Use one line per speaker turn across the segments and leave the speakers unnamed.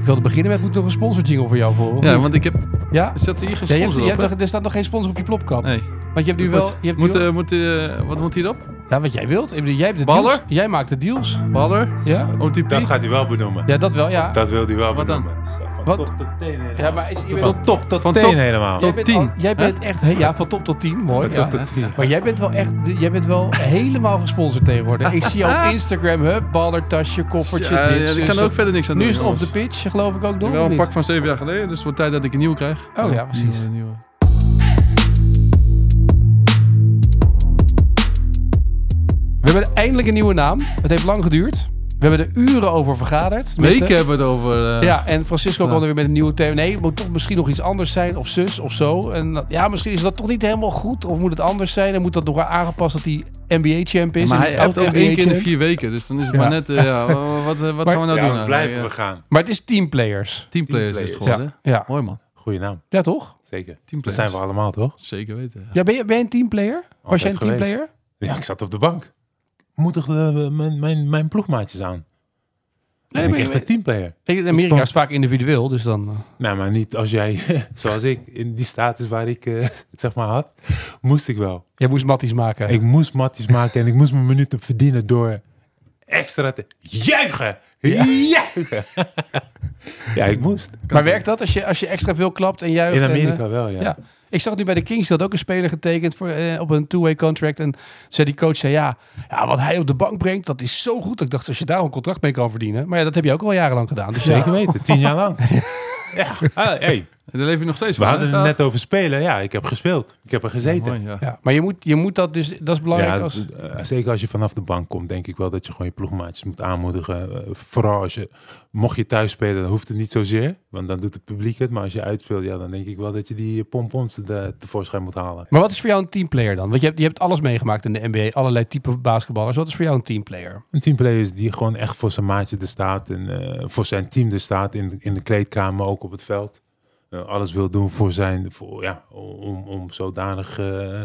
Ik wilde beginnen met, moet nog een sponsor jingle voor jou voor? of
Ja,
niet?
want ik heb...
Ja?
Zat hier geen
Ja, je hebt,
sponsor
je
op,
hebt
hè?
nog, er staat nog geen sponsor op je plopkap.
Nee.
Want je hebt nu wel... Je hebt nu
moet,
wel-
eh, moet, eh, wat moet hierop?
ja, wat jij wilt. Ik bedoel, jij, hebt de
Baller?
deals, jij maakt de deals.
Baller?
Ja?
OTP?
Dat gaat hij wel benoemen.
Ja, dat wel, ja.
Dat wil hij wel
Wat dan?
benoemen. Zo, Van
Wat?
top tot teen helemaal.
Ja, maar is, je bent-
Tot top tot
Van
teen
top-
helemaal.
tot
jij bent,
tien,
al- jij
hè?
bent echt... he- ja, van top tot tien. Mooi.
Van
ja.
top tot tien.
Maar jij bent wel echt... de- Jij bent wel helemaal gesponsord tegenwoordig. Ik zie jou op Instagram. Hup, baller, tasje, koffertje,
Ja,
dit.
ja, ik
zus,
kan er
dat.
ook verder niks aan
nu
doen.
is het off the
jongens.
pitch, geloof ik ook nog.
Wel
of
een
niet?
pak van zeven jaar geleden, dus het wordt tijd dat ik een nieuwe krijg.
Oh ja, precies.
Nieuwe, nieuwe.
We hebben eindelijk een nieuwe naam. Het heeft lang geduurd. We hebben er uren over vergaderd. tenminste.
Weken hebben we het over. eh,
Ja, en Francisco
Ja.
kwam er weer met een nieuwe thema. Nee, het moet toch misschien nog iets anders zijn, of zus, of zo. En dat- ja, misschien is dat toch niet helemaal goed, of moet het anders zijn? En moet dat nog wel aangepast dat hij NBA-champ is?
maar
en
hij
dus
heeft ook
oud
één keer in de
NBA-champ?
vier weken, dus dan is het
Ja.
maar net. eh, ja, wa- wa- wat eh, wat gaan we nou
Ja,
doen?
anders
eigenlijk?
blijven
Ja.
we gaan.
Maar het is teamplayers.
Teamplayers is het
Teamplayers.
geworden.
Ja.
Mooi man.
Goeie naam,
ja, toch?
zeker. Dat
Teamplayers.
zijn we allemaal, toch?
Zeker weten.
Ja, ben, je, ben je een teamplayer? Was jij een
Oh, geweest.
teamplayer?
Ja, ik zat op de bank. Moedigde eh, mijn, mijn, mijn ploegmaatjes aan.
Nee,
ben ik
maar
echt een
je-
teamplayer.
in Amerika is het vaak individueel, dus dan... eh,
Nou, maar niet als jij, zoals ik, in die status waar ik eh, het zeg maar had, moest ik wel.
Jij moest matties maken.
Ik moest matties maken en ik moest mijn minuten verdienen door extra te juichen. Juichen. ja, ik moest.
maar werkt dat als je, als je extra veel klapt en juicht?
In
en, eh,
Amerika wel, ja.
Ja. Ik zag nu bij de Kings dat ook een speler getekend voor, eh, op een two-way contract. En zei die coach, zei, ja, ja, wat hij op de bank brengt, dat is zo goed. Ik dacht, als je daar een contract mee kan verdienen. Maar ja, dat heb je ook al jarenlang gedaan. Dus ja.
Zeker weten, tien jaar lang. ja, ah, hey,
En daar leef je nog steeds
we
van,
hadden
hè?
het net over spelen. Ja, ik heb gespeeld. Ik heb er
Ja,
gezeten.
mooi, ja.
Ja, maar je moet, je moet dat dus, dat is belangrijk.
Ja,
als,
dat- eh, zeker als je vanaf de bank komt, denk ik wel dat je gewoon je ploegmaatjes moet aanmoedigen. Eh, vooral als je, mocht je thuis spelen, dan hoeft het niet zozeer. Want dan doet het publiek het. Maar als je uitspeelt, ja, dan denk ik wel dat je die eh, pompons te, tevoorschijn moet halen.
maar wat is voor jou een teamplayer dan? Want je hebt, je hebt alles meegemaakt in de NBA, allerlei type basketballers. Wat is voor jou een teamplayer?
Een teamplayer is die gewoon echt voor zijn maatje er staat. En eh, voor zijn team er staat. In, in de kleedkamer, ook op het veld. Eh, alles wil doen voor zijn, voor, ja, om, om zodanig eh,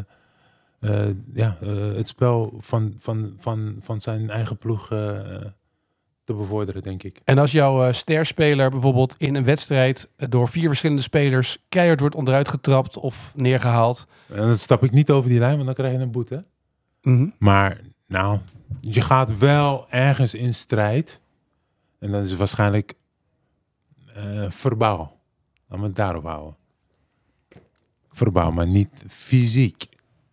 eh, ja, eh, het spel van, van, van, van zijn eigen ploeg eh, te bevorderen, denk ik.
En als jouw eh, sterspeler bijvoorbeeld in een wedstrijd eh, door vier verschillende spelers keihard wordt onderuit getrapt of neergehaald.
En dan stap ik niet over die lijn, want dan krijg je een boete.
Mhm.
Maar nou, je gaat wel ergens in strijd. En dat is waarschijnlijk eh verbaal. Laten we het daarop houden. Verbaal, maar niet fysiek.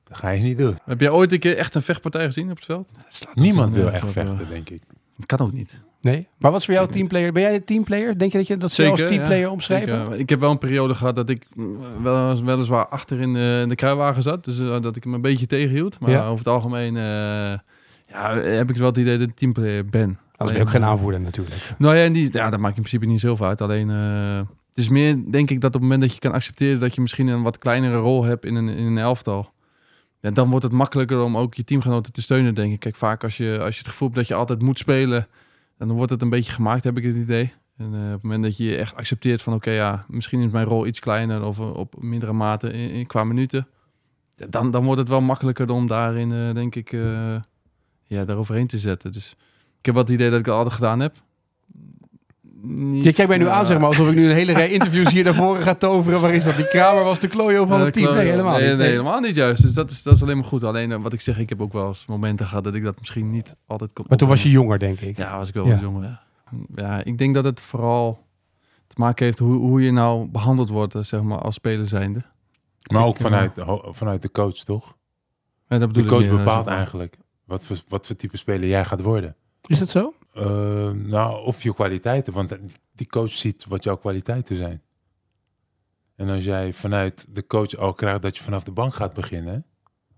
Dat ga je niet doen.
Heb jij ooit een keer echt een vechtpartij gezien op het veld?
Niemand
nergens
wil echt
op,
vechten,
joh.
denk ik.
Dat kan ook niet.
Nee. Maar wat is voor jou een teamplayer? Ben jij een teamplayer? Denk je dat je dat zelf als teamplayer omschrijven?
Ik heb wel een periode gehad dat ik mm, wel, weliswaar achter in de, in de kruiwagen zat. Dus eh, dat ik hem een beetje tegenhield. Maar
Ja.
over het algemeen eh, ja, heb ik wel het idee dat ik teamplayer ben.
Anders ben je ook geen aanvoerder natuurlijk.
Nou ja, en die, ja, dat maakt in principe niet zoveel uit. Alleen, eh, het is meer denk ik dat op het moment dat je kan accepteren dat je misschien een wat kleinere rol hebt in een, in een elftal. Ja, dan wordt het makkelijker om ook je teamgenoten te steunen, denk ik. Kijk, vaak als je, als je het gevoel hebt dat je altijd moet spelen, dan wordt het een beetje gemaakt, heb ik het idee. En eh, op het moment dat je je echt accepteert van, oké, ja, misschien is mijn rol iets kleiner of eh, op mindere mate in, in- qua minuten. ja, Dan, dan wordt het wel makkelijker om daarin, eh, denk ik, eh ja, daaroverheen te zetten. Dus ik heb wel het idee dat ik dat altijd gedaan heb. Niet,
Je kijkt mij nu
ja,
aan, zeg maar, alsof ik nu een hele rij interviews hier naar voren ga toveren. Waar is dat? Die Kramer was de klojo van
Eh,
het team.
klopt.
Nee, helemaal
nee,
niet.
nee, helemaal niet juist. Dus dat is, dat is alleen maar goed. Alleen eh, wat ik zeg, ik heb ook wel eens momenten gehad dat ik dat misschien niet altijd kon.
Maar toen was je
opnemen.
jonger, denk ik.
Ja, was ik wel
Ja.
eens jonger. Ja. ja, ik denk dat het vooral te maken heeft hoe, hoe je nou behandeld wordt, eh, zeg maar, als speler zijnde.
Maar ook
eh,
vanuit, ho- vanuit de coach, toch?
En dat
De
bedoel
coach
ik meer, eh,
bepaalt
zeg maar.
eigenlijk wat voor, wat voor type speler jij gaat worden.
Is dat zo?
Eh, nou, of je kwaliteiten. Want die coach ziet wat jouw kwaliteiten zijn. En als jij vanuit de coach al krijgt dat je vanaf de bank gaat beginnen.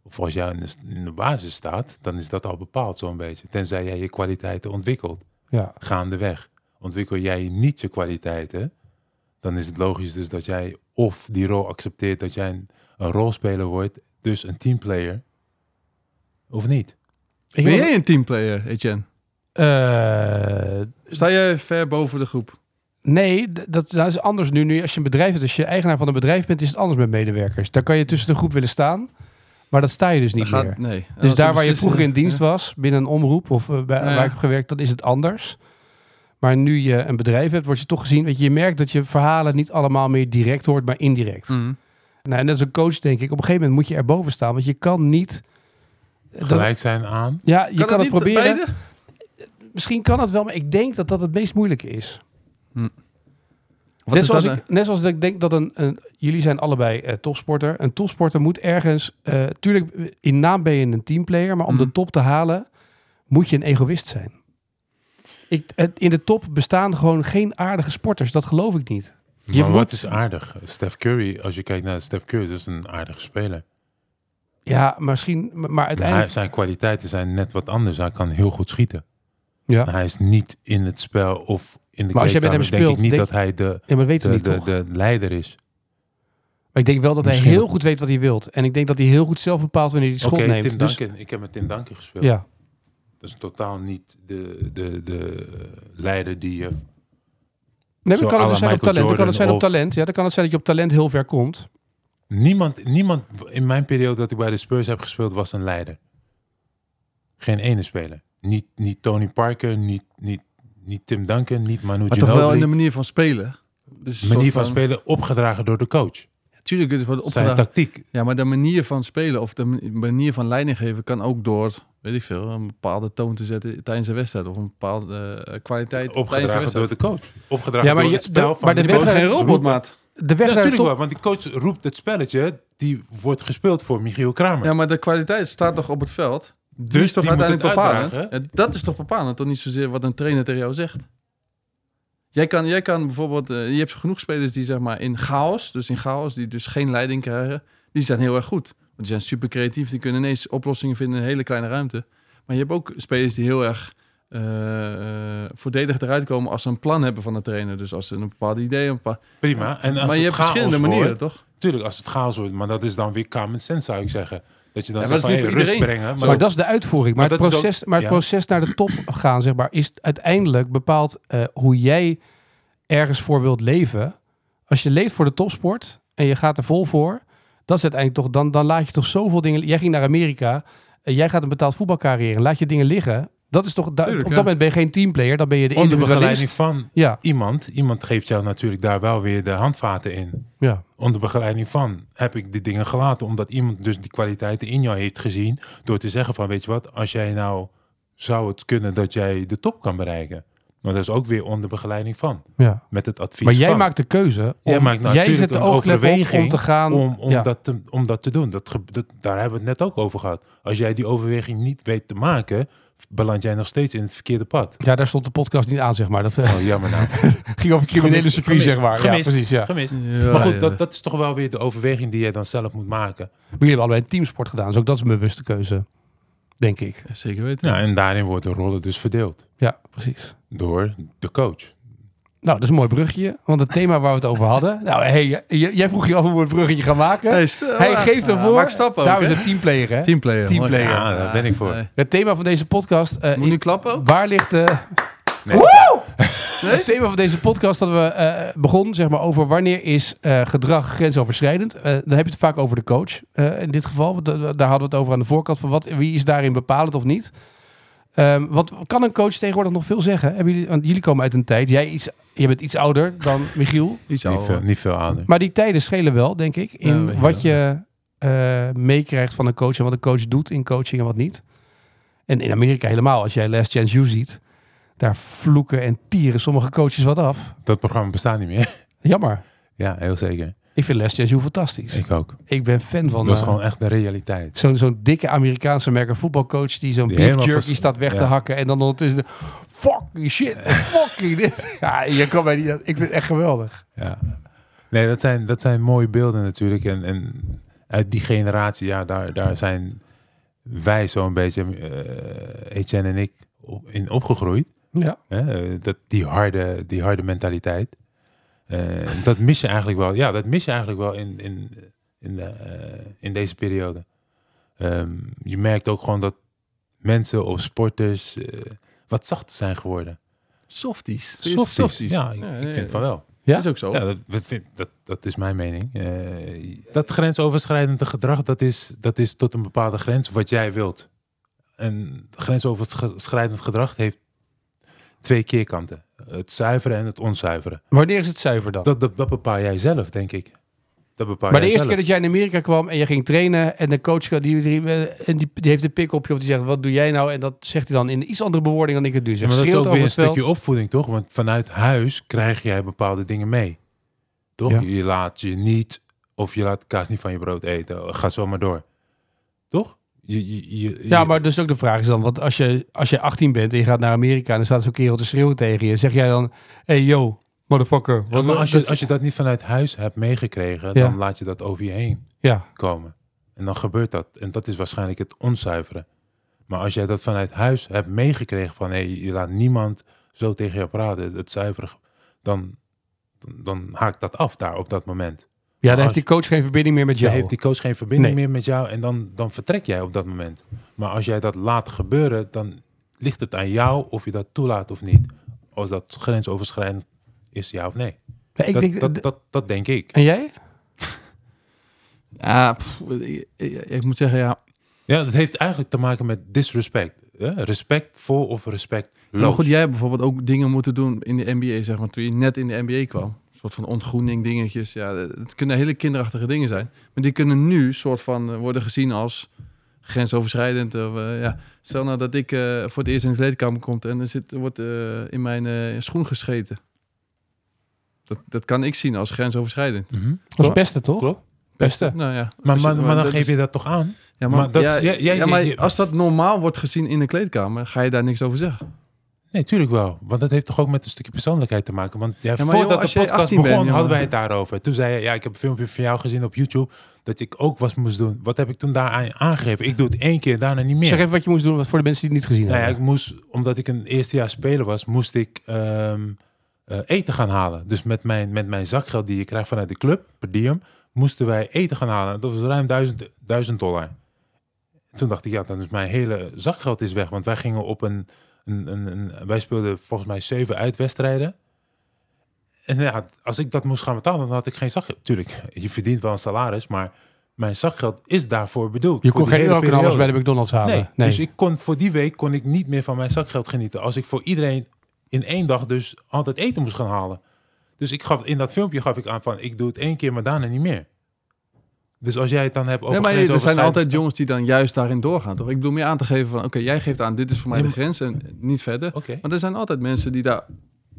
Of als jij in de, in de basis staat, dan is dat al bepaald zo'n beetje. Tenzij jij je kwaliteiten ontwikkelt,
Ja.
gaandeweg. Ontwikkel jij niet je kwaliteiten, dan is het logisch dus dat jij of die rol accepteert dat jij een, een rolspeler wordt, dus een teamplayer, of niet.
Ik
Ben
wil-
jij een teamplayer, Etienne?
Eh,
Sta jij ver boven de groep?
nee, d- dat, dat is anders nu. nu. Als je een bedrijf bent, als je eigenaar van een bedrijf bent, is het anders met medewerkers. Daar kan je tussen de groep willen staan, maar dat sta je dus niet
Dat
meer.
nee.
Dus
Als
daar waar je
beslissing-
vroeger in dienst
Ja.
was, binnen een omroep of eh, bij,
Ja.
waar ik heb gewerkt, dat is het anders. Maar nu je een bedrijf hebt, word je toch gezien. Weet je, je merkt dat je verhalen niet allemaal meer direct hoort, maar indirect.
Mhm.
Nou, en dat is een coach, denk ik. Op een gegeven moment moet je erboven staan. Want je kan niet. eh,
Gelijk zijn aan.
Ja, je kan, het,
niet
proberen.
beide?
Misschien kan het wel, maar ik denk dat dat het meest moeilijke is.
Wat
net,
is
zoals
dat,
ik, net zoals dat ik denk dat een, een- Jullie zijn allebei eh, topsporter. Een topsporter moet ergens... eh, tuurlijk, in naam ben je een teamplayer. Maar om
Mhm.
de top te halen, moet je een egoïst zijn. Ik, het, in de top bestaan gewoon geen aardige sporters. Dat geloof ik niet. Je
Je maar
moet-
wat is aardig? Steph Curry, als je kijkt naar Steph Curry, dat is dus een aardige speler.
Ja, misschien... Maar
Maar
uiteindelijk...
zijn kwaliteiten zijn net wat anders. Hij kan heel goed schieten.
Ja,
Maar hij is niet in het spel of in de
Maar als jij met hem
kleedkamer, denk
speelt,
ik niet
denk-
dat hij de,
ja maar dat weten we
de,
niet,
de,
toch?
de leider is.
Maar ik denk wel dat hij
Misschien-
heel goed weet wat hij wilt. En ik denk dat hij heel goed zelf bepaalt wanneer hij die schot
Oké,
neemt.
Tim
dus,
Duncan. Ik heb met Tim Duncan gespeeld.
Ja.
Dat is totaal niet de, de, de eh, leider die je...
Nee,
Zo
dan kan het
à la
dus zijn op
Michael
talent. Dan kan het zijn
Jordan
op talent. Ja, dan kan het zijn dat je op talent heel ver komt.
Niemand, niemand in mijn periode dat ik bij de Spurs heb gespeeld was een leider. Geen ene speler. Niet, niet Tony Parker, niet, niet, niet Tim Duncan, niet Manu
Maar toch wel in de
Ginobili.
manier van spelen. Dus een
manier
soort
van spelen opgedragen door de coach.
Tuurlijk, het wordt
Zijn
opgedragen.
tactiek.
Ja, maar de manier van spelen of de mani- manier van leiding geven kan ook door, weet ik veel, een bepaalde toon te zetten tijdens de wedstrijd. Of een bepaalde eh, kwaliteit tijdens de
Opgedragen door
wedstrijd.
de coach. Opgedragen
Ja, maar
door
je-
het spel
de-
van
maar de
de
Je
coach.
bent geen
wedstrijd-
robot, maat.
De weg
Ja,
naar de
natuurlijk
top.
wel, want die coach roept het spelletje. Die wordt gespeeld voor Michiel Kramer.
Ja, maar de kwaliteit staat toch op het veld? Dus
Dus
is toch
die moet
uiteindelijk
het
bepalend?
uitdragen,
En dat is toch bepalend, toch niet zozeer wat een trainer tegen jou zegt? Jij kan, jij kan bijvoorbeeld, eh, je hebt genoeg spelers die zeg maar in chaos, dus in chaos, die dus geen leiding krijgen, die zijn heel erg goed. Want die zijn super creatief, die kunnen ineens oplossingen vinden in een hele kleine ruimte. Maar je hebt ook spelers die heel erg eh eh, verdedigd eruit komen als ze een plan hebben van de trainer. Dus als ze een bepaald idee, een bepaald...
Prima. En als
Maar je
het
hebt
chaos
verschillende
wordt-
manieren, toch?
Tuurlijk, als het chaos wordt. Maar dat is dan weer common sense, zou ik zeggen. Dat je dan
Ja, maar dat
zegt van,
is
hey,
niet voor
rust
iedereen.
brengen.
Maar, dat is de uitvoering. Maar,
Maar
het,
dat is
proces, maar het
ja.
proces naar de top gaan, zeg maar, is uiteindelijk bepaald eh, hoe jij ergens voor wilt leven. Als je leeft voor de topsport en je gaat er vol voor, dat is uiteindelijk toch, dan, dan laat je toch zoveel dingen. Jij ging naar Amerika, en jij gaat een betaald voetbalcarrière, laat je dingen liggen. Dat is toch, da-
Tuurlijk,
op
ja.
dat moment ben je geen teamplayer, dan ben je de
onder begeleiding
individualist.
van
Ja,
iemand. Iemand geeft jou natuurlijk daar wel weer de handvaten in.
ja.
Onder begeleiding van heb ik die dingen gelaten. Omdat iemand dus die kwaliteiten in jou heeft gezien. Door te zeggen van, weet je wat, als jij nou zou het kunnen dat jij de top kan bereiken. Maar dat is ook weer onder begeleiding van.
ja.
Met het advies
Maar jij
van.
maakt de keuze. Om,
Jij maakt
jij
natuurlijk
zet de
een
oogklep op om
overweging
te gaan.
om, om,
ja.
dat te, om dat te doen. Dat ge- dat, daar hebben we het net ook over gehad. Als jij die overweging niet weet te maken, beland jij nog steeds in het verkeerde pad.
ja, daar stond de podcast niet aan, zeg maar. Dat eh,
Oh, jammer nou.
ging over criminele
Gemist,
dus circuit,
gemist,
zeg maar. Ja,
gemist.
precies, ja.
Gemist.
Ja,
maar
ja.
goed, dat, dat is toch wel weer de overweging die jij dan zelf moet maken.
Maar jullie hebben allebei een teamsport gedaan. Dus ook dat is een bewuste keuze, denk ik.
Zeker weten.
Ja, en daarin worden rollen dus verdeeld
Ja, precies.
door de coach.
Nou, dat is een mooi brugje. Want het thema waar we het over hadden... Nou, hey, j- jij vroeg je af hoe we het bruggetje gaan maken.
Hij is-
Hij geeft een
Ja,
woord.
Max Ah, Stappen ook,
Daar
hè?
is een teamplayer, hè?
Teamplayer.
Teamplayer.
mooi.
Ja, daar ben ik voor.
Nee.
Het thema van deze podcast... eh,
Moet nu klappen ook?
Waar ligt de...
Nee.
Woe! Het thema van deze podcast dat we eh begonnen zeg maar, over wanneer is eh, gedrag grensoverschrijdend. Eh, dan heb je het vaak over de coach eh, in dit geval. Want, eh, daar hadden we het over aan de voorkant van wat, wie is daarin bepalend of niet. Ehm wat kan een coach tegenwoordig nog veel zeggen? Hebben jullie, want jullie komen uit een tijd, jij iets, je bent iets ouder dan Michiel.
Iets
Niet veel, niet veel aan.
Maar die tijden schelen wel, denk ik, in
Ja, weet je
wat
wel.
je eh, meekrijgt van een coach en wat een coach doet in coaching en wat niet. En in Amerika helemaal, als jij Last Chance You ziet, daar vloeken en tieren sommige coaches wat af.
Dat programma bestaat niet meer.
Jammer.
Ja, heel zeker.
Ik vind Les Chance You fantastisch. Ik,
Ik ook.
ben fan van
Dat is
eh,
gewoon echt de realiteit.
zo'n zo'n dikke Amerikaanse merker voetbalcoach die zo'n
Die
beef
helemaal
jerky
vers-
staat weg te
ja.
hakken en dan ondertussen de, fucking shit, fucking dit. Ja, je kan mij niet. Ik vind het echt geweldig.
Ja. Nee, dat zijn, dat zijn mooie beelden natuurlijk. En, en uit die generatie, ja, daar, daar zijn wij zo'n beetje, eh Etienne en ik, op- in opgegroeid.
Ja.
Hè? Eh, Dat, die, harde, die harde mentaliteit. Eh, dat mis je eigenlijk wel. Ja, dat mis je eigenlijk wel in, in, in, de, eh, in deze periode. Ehm, je merkt ook gewoon dat mensen of sporters eh, wat zachter zijn geworden.
Softies.
Ja, ik, ik vind van wel.
Ja?
Dat is ook zo.
Ja, dat, dat, vind- dat, dat is mijn mening. Eh, dat grensoverschrijdende gedrag, dat is, dat is tot een bepaalde grens wat jij wilt. En grensoverschrijdend gedrag heeft twee keerkanten. Het zuiveren en het onzuiveren.
Wanneer is het zuiver dan?
Dat, dat, dat bepaal jij zelf, denk ik. Dat bepaal
maar de
jij
eerste
Oh, zelf.
keer dat jij in Amerika kwam en je ging trainen en de coach die, die, die, en die, die heeft een pik op je of die zegt wat doe jij nou en dat zegt hij dan in iets andere bewoording dan ik het nu zeg.
maar dat is
Schreeuwt
ook weer een
over het veld.
stukje opvoeding, toch? Want vanuit huis krijg jij bepaalde dingen mee. Toch?
Ja.
Je laat je niet, of je laat kaas niet van je brood eten. Ga zo maar door. Toch? Je, je, je,
Ja,
je-
maar dus ook de vraag is dan, want als je, als je 18 bent en je gaat naar Amerika en er staat zo'n kerel te schreeuwen tegen je, zeg jij dan, hey yo, motherfucker.
Ja,
wat-
maar als, je,
dat-
als je dat niet vanuit huis hebt meegekregen,
Ja.
dan laat je dat over je heen
Ja,
komen. En dan gebeurt dat. En dat is waarschijnlijk het onzuiveren. Maar als jij dat vanuit huis hebt meegekregen van hé, je laat niemand zo tegen je praten, het zuiveren, dan, dan, dan haakt dat af daar op dat moment.
ja dan
als-
heeft die coach geen verbinding meer met
Je
jou.
heeft die coach geen verbinding
Nee.
meer met jou en dan, dan vertrek jij op dat moment. Maar als jij dat laat gebeuren, dan ligt het aan jou of je dat toelaat of niet. Als dat grensoverschrijdend is, ja of nee.
Ja, ik
dat,
denk,
dat, dat, dat denk ik.
en jij?
Ja, pff, ik, ik- ik moet zeggen, ja.
Ja, dat heeft eigenlijk te maken met disrespect. hè? Respect voor of respect
Maar goed, jij hebt bijvoorbeeld ook dingen moeten doen in de NBA, zeg maar, toen je net in de NBA kwam. Een soort van ontgroening dingetjes. Ja, het kunnen hele kinderachtige dingen zijn. Maar die kunnen nu soort van eh, worden gezien als grensoverschrijdend. Of, eh, ja. Stel nou dat ik eh, voor het eerst in de kleedkamer kom en er zit, er wordt eh, in mijn eh, schoen gescheten. Dat, dat kan ik zien als grensoverschrijdend.
Dat is beste, toch?
Klopt.
Beste.
Nou ja.
Maar,
Als
Mhm. maar, maar dan
dat
geef
is-
je dat toch aan?
Ja, maar,
maar dat-
ja,
jij- jij-
ja, maar
jij-
als dat normaal wordt gezien in de kleedkamer, ga je daar niks over zeggen.
Nee, tuurlijk wel. Want dat heeft toch ook met een stukje persoonlijkheid te maken. Want ja,
maar joh,
voordat
als
de
jij
podcast
18
begon,
bent, jongen.
hadden wij het daarover. Toen zei je, ja, ik heb een filmpje van jou gezien op YouTube... dat ik ook was moest doen. Wat heb ik toen daaraan aangegeven? Ik doe het één keer, daarna niet meer.
Zeg even wat je moest doen wat voor de mensen die het niet gezien
nou ja, ik
hebben.
moest, omdat ik een eerstejaars speler was... moest ik ehm, eh, eten gaan halen. Dus met mijn, met mijn zakgeld die je krijgt vanuit de club, per diem... moesten wij eten gaan halen. Dat was ruim 1000 duizend dollar. Toen dacht ik, ja, dan is mijn hele zakgeld is weg. Want wij gingen op een... een, een, een- wij speelden volgens mij zeven uitwedstrijden. En ja, als ik dat moest gaan betalen, dan had ik geen zakgeld. Tuurlijk, je verdient wel een salaris, maar mijn zakgeld is daarvoor bedoeld.
Je
Voor
kon
die
geen
hele
euro
periode.
bij de McDonald's halen.
Nee,
Nee.
dus ik kon, voor die week kon ik niet meer van mijn zakgeld genieten. Als ik voor iedereen in één dag dus altijd eten moest gaan halen. Dus ik gaf, in dat filmpje gaf ik aan van, ik doe het één keer, maar daarna niet meer. Dus als jij het dan hebt over
Nee, maar er zijn
grensoverschrijdend-
altijd jongens die dan juist daarin doorgaan, toch? Ik bedoel meer aan te geven van, oké, jij geeft aan, dit is voor mij
Nee,
de grens en niet verder.
Oké.
Want er zijn altijd mensen die daar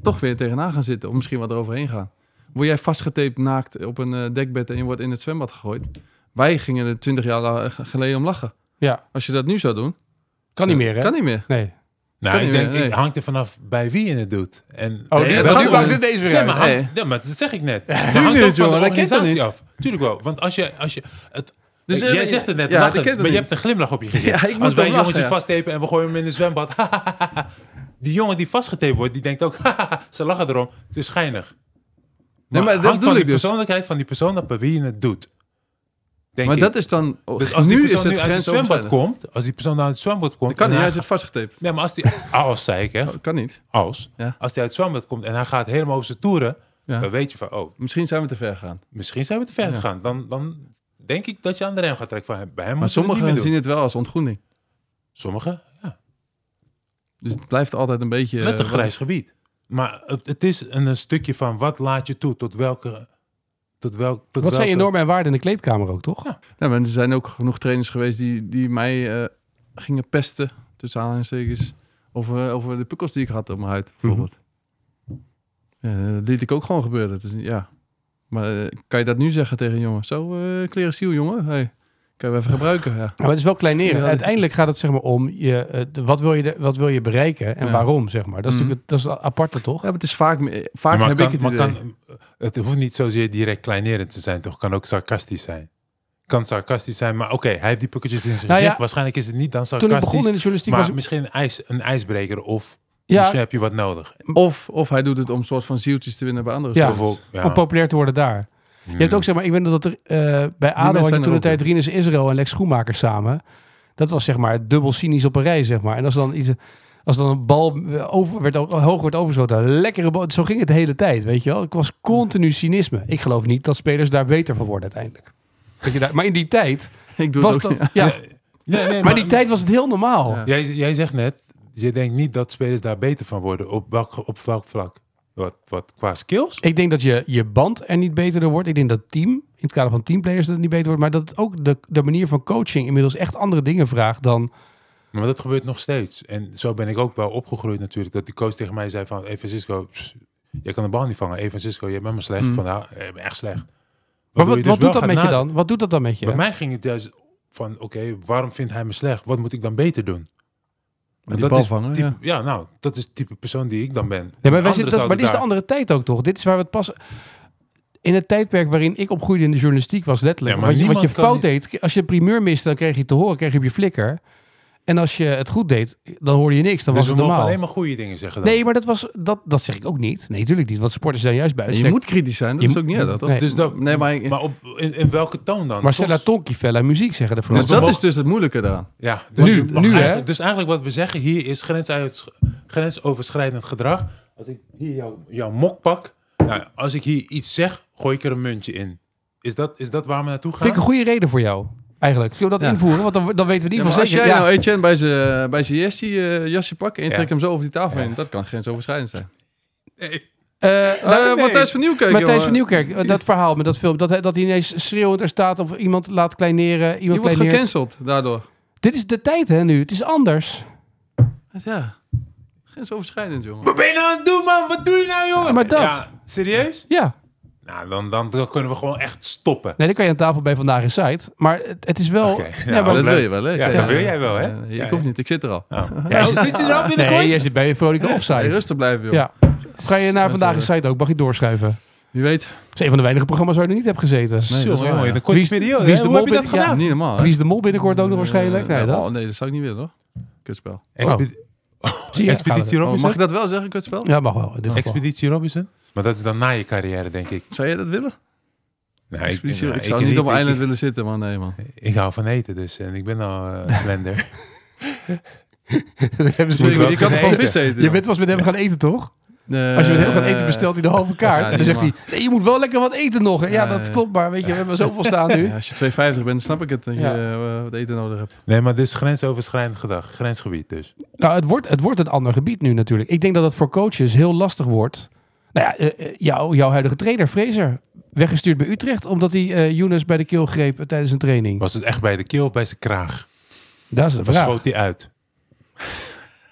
toch weer tegenaan gaan zitten, of misschien wat eroverheen gaan. Word jij vastgetaped naakt op een eh, dekbed en je wordt in het zwembad gegooid? Wij gingen er twintig jaar la- eh, geleden om lachen.
Ja,
Als je dat nu zou doen,
kan niet meer hè?
kan niet meer.
Nee.
Nou,
Kan
ik
niet
denk,
meer,
ik
nee.
hangt er vanaf bij wie je het doet. En,
Oh,
nee,
nu-
dat
nu
kan
maakt
niet.
het deze weer
Nee,
uit.
maar,
Nee.
hangt- ja, maar dat zeg ik net. Het hangt
Tuurlijk,
ook van
jongen,
de
dat kent toch
organisatie
niet?
af. Tuurlijk wel, want als je... Als je het,
Dus,
jij
eh,
zegt het net,
ja, dat
lachend,
kent het
maar je
niet.
hebt een glimlach op je gezicht.
Ja, ik moet
als wij
wel
jongetjes
lachen, ja.
vasttepen en we gooien hem in het zwembad. die jongen die vastgetaped wordt, die denkt ook... ze lachen erom, het is schijnig. Maar,
Nee, maar dat bedoel
hangt van de
ik dus.
persoonlijkheid van die persoon af bij wie je het doet. Denk
Maar
ik.
dat is dan, oh,
dus als die
nu is
persoon
het
nu uit het zwembad
grensoverschrijdend.
komt, als die persoon uit het zwembad komt...
Dat kan
en
niet, hij
hij
zit
gaat-
vastgetaped.
Nee, maar als die... Als, zei ik, hè.
Dat kan niet.
Als.
Ja.
Als hij uit het zwembad komt en hij gaat helemaal over zijn toeren...
Ja.
dan weet je van, oh,
Misschien zijn we te ver gegaan.
misschien zijn we te ver
Ja.
gegaan. Dan, dan denk ik dat je aan de rem gaat trekken. Van, hem- bij hem
Maar
moeten we het
sommigen
niet meer
zien het wel als ontgroening.
doen. Sommigen, ja.
Dus het blijft altijd een beetje...
Met een
eh,
grijs gebied. Maar het, het is een, een stukje van wat laat je toe, tot welke... Tot welk, tot
Wat zijn je
welke-
normen en waarden in de kleedkamer ook, toch?
Nou, maar er zijn ook genoeg trainers geweest die, die mij eh, gingen pesten, tussen aanhalingstekens, over, eh, over de pukkels die ik had op mijn huid, bijvoorbeeld. Ja, dat liet ik ook gewoon gebeuren. Het is niet- ja. Maar eh, kan je dat nu zeggen tegen een jongen? Zo, eh kleren ziel, jongen. Hey, kan je hem even gebruiken? Ja.
Maar het is wel kleineren.
Ja.
Uiteindelijk gaat het zeg maar om je, eh, de- wat, wil je, de- wat wil je bereiken en
Ja.
waarom, zeg maar. Dat is
Mhm.
natuurlijk het- dat is aparte, toch?
ja, maar het is vaak... me- eh, Vaak
maar
heb
kan,
ik het
maar
idee.
kan, het hoeft niet zozeer direct kleinerend te zijn, toch? Kan ook sarcastisch zijn. Kan sarcastisch zijn, maar oké, hij heeft die pukketjes in zijn
Nou ja,
gezicht. Waarschijnlijk is het niet dan
Toen ik
sarcastisch.
begon in de journalistiek
maar
was...
misschien een, ijs, een ijsbreker of
Ja,
misschien heb je wat nodig.
Of, of hij doet het om een soort van zieltjes te winnen bij andere
Ja.
spelers.
Bijvoorbeeld, ja. Hmm.
om populair te worden daar. Je hebt ook zeg maar, ik weet nog dat er eh, bij ADO had je
zijn
toen
er
de
ook,
tijd Rinus Israël en Lex Schoenmaker samen. Dat was zeg maar dubbel cynisch op een rij, zeg maar. En als dan iets, als dan een bal eh, over, werd, hoog werd overgeschoten, lekkere bal. Zo ging het de hele tijd, weet je wel. Het was continu cynisme. Ik geloof niet dat spelers daar beter van worden uiteindelijk. Dat je daar, maar in die tijd
Ik doe
was
het ook
dat...
niet.
Ja,
Nee, nee,
maar in die tijd was het heel normaal.
Ja.
Jij, jij zegt net, je denkt niet dat spelers daar beter van worden. Op welk, op welk vlak? Wat, wat qua skills?
Ik denk dat je, je band er niet beter door wordt. Ik denk dat het team, in het kader van teamplayers, dat het niet beter wordt. Maar dat het ook de, de manier van coaching inmiddels echt andere dingen vraagt dan...
Maar dat gebeurt nog steeds. En zo ben ik ook wel opgegroeid natuurlijk. Dat die coach tegen mij zei van... Hey Francisco, pss, jij kan de bal niet vangen. Hey Francisco, jij bent maar slecht.
Mm.
Van, nou, jij bent echt slecht.
Maar wat,
Waardoor je dus
wat
wel
doet dat
gaat
met je
nadenken.
dan? Wat doet dat dan met je?
Bij mij ging het juist van... Oké, waarom vindt hij me slecht? Wat moet ik dan beter doen?
Maar die
dat
bal
is
vangen,
type-
ja.
nou, dat is het type persoon die ik dan ben.
Ja, maar,
Anderen
wij zitten, dat,
zouden
maar dit is de
daar-
andere tijd ook toch? Dit is waar we het pas... In het tijdperk waarin ik opgroeide in de journalistiek was letterlijk...
Ja, maar
wat, je, wat je
niemand kan
fout deed, als je een primeur miste, dan kreeg je het te horen, kreeg je op je flikker. En als je het goed deed, dan hoorde je niks, dan
Dus
was
we
het
mogen
normaal.
alleen maar goede dingen zeggen dan.
Nee, maar dat, was, dat, dat zeg ik ook niet. Nee, natuurlijk niet, want sporters zijn juist bij.
En je moet kritisch zijn, dat
Je
is ook niet erg. toch?
nee.
Dus dat,
Nee, maar,
maar op, in, in welke toon dan?
Marcella
Soms-
Tonkifella muziek zeggen de
dus
Fransen.
dat is dus het moeilijke eraan.
Ja, dus
Nu,
je mag
nu, hè?
eigenlijk- Dus eigenlijk wat we zeggen hier is grensuit, grensoverschrijdend gedrag. Als ik hier jou, jouw mok pak, nou, als ik hier iets zeg, gooi ik er een muntje in. Is dat, is dat waar we naartoe gaan?
Vind ik een goede reden voor jou, eigenlijk. Zullen we dat
Ja.
invoeren? Want dan, dan weten we niet
Ja, maar
van
als
zeker.
jij
Ja,
nou Etienne bij zijn bij zijn jasje, eh, jasje pakt en je
Ja.
trekt hem zo over die tafel heen, dat kan grensoverschrijdend zijn.
Nee.
eh, nou,
Eh,
nee.
Matthijs van Nieuwkerk,
Matthijs
jongen.
van Nieuwkerk, eh, dat verhaal met dat film. Dat, hij- dat hij ineens schreeuwend er staat of iemand laat kleineren.
Je
Iemand
wordt
kleineert.
gecanceld daardoor.
Dit is de tijd, hè, nu. Het is anders.
Ja, grensoverschrijdend, jongen.
Wat ben je nou aan het doen, man? Wat doe je nou, jongen?
Maar dat.
Ja, serieus?
Ja.
Nou, dan, dan, dan kunnen we gewoon echt stoppen.
Nee, dan kan je aan tafel bij Vandaag in Site. Maar het, het is wel...
Oké,
Nee,
nou,
maar-
dat
leuk.
wil je wel, hè?
Ja,
Kijk,
dat
eh,
wil jij wel, hè?
eh,
Ja,
Ik
ja.
hoef niet, ik zit er al.
Ja,
Oh, zit je er al binnenkort?
nee, jij zit bij Veronica
Nee,
Offside.
rustig blijven, joh.
Ja. Ga je naar Vandaag in Site ook? Mag je doorschuiven?
Wie weet.
Dat is een van de weinige programma's waar ik nog niet heb gezeten.
Nee, dat is
Jongen,
waar,
jongen,
ja.
in een korte
Wie is-
periode.
wie is
hè?
de
Hoe heb je
mol
dat
binnen-
gedaan?
Niet normaal, hè?
Wie is de mol binnenkort ook nog waarschijnlijk? Nee,
Eh,
dat.
oh, nee, dat zou ik niet willen, hoor. Kutspel.
Expedi-
oh, Zie je, gaan we
Expeditie
er-
Oh,
Robinson?
mag ik dat wel zeggen, kutspel?
Ja, mag wel. In dit geval.
Expeditie Robinson? Maar dat is dan na je carrière, denk ik.
Zou jij dat willen?
Nee,
ik,
nou,
zou niet op een
ik-
eiland
ik-
willen zitten, man. Nee, man.
Ik hou van eten dus. En ik ben al eh, slender.
Je,
wel
kan
kunnen
gewoon
eten.
vis eten.
Je bent wel eens met hem gaan eten, toch? Als je met hem gaat eten, bestelt hij de halve kaart.
Eh,
en
ja,
dan
niet
zegt hij, nee, je moet wel lekker wat eten nog. hè." Ja,
Ja,
dat
ja.
klopt, maar weet je, we hebben zoveel staan nu.
als je 250 bent, snap ik het dat
Ja.
je eh, wat eten nodig hebt.
nee, maar dus grensoverschrijdend gedrag. Grensgebied dus.
Nou, het wordt, het wordt een ander gebied nu natuurlijk. Ik denk dat dat voor coaches heel lastig wordt. Nou ja, eh, eh, jou, jouw huidige trainer, Fraser, weggestuurd bij Utrecht... omdat hij eh Younes bij de keel greep eh, tijdens een training.
Was het echt bij de keel of bij zijn kraag?
Dat is de
Of
vraag.
schoot hij uit?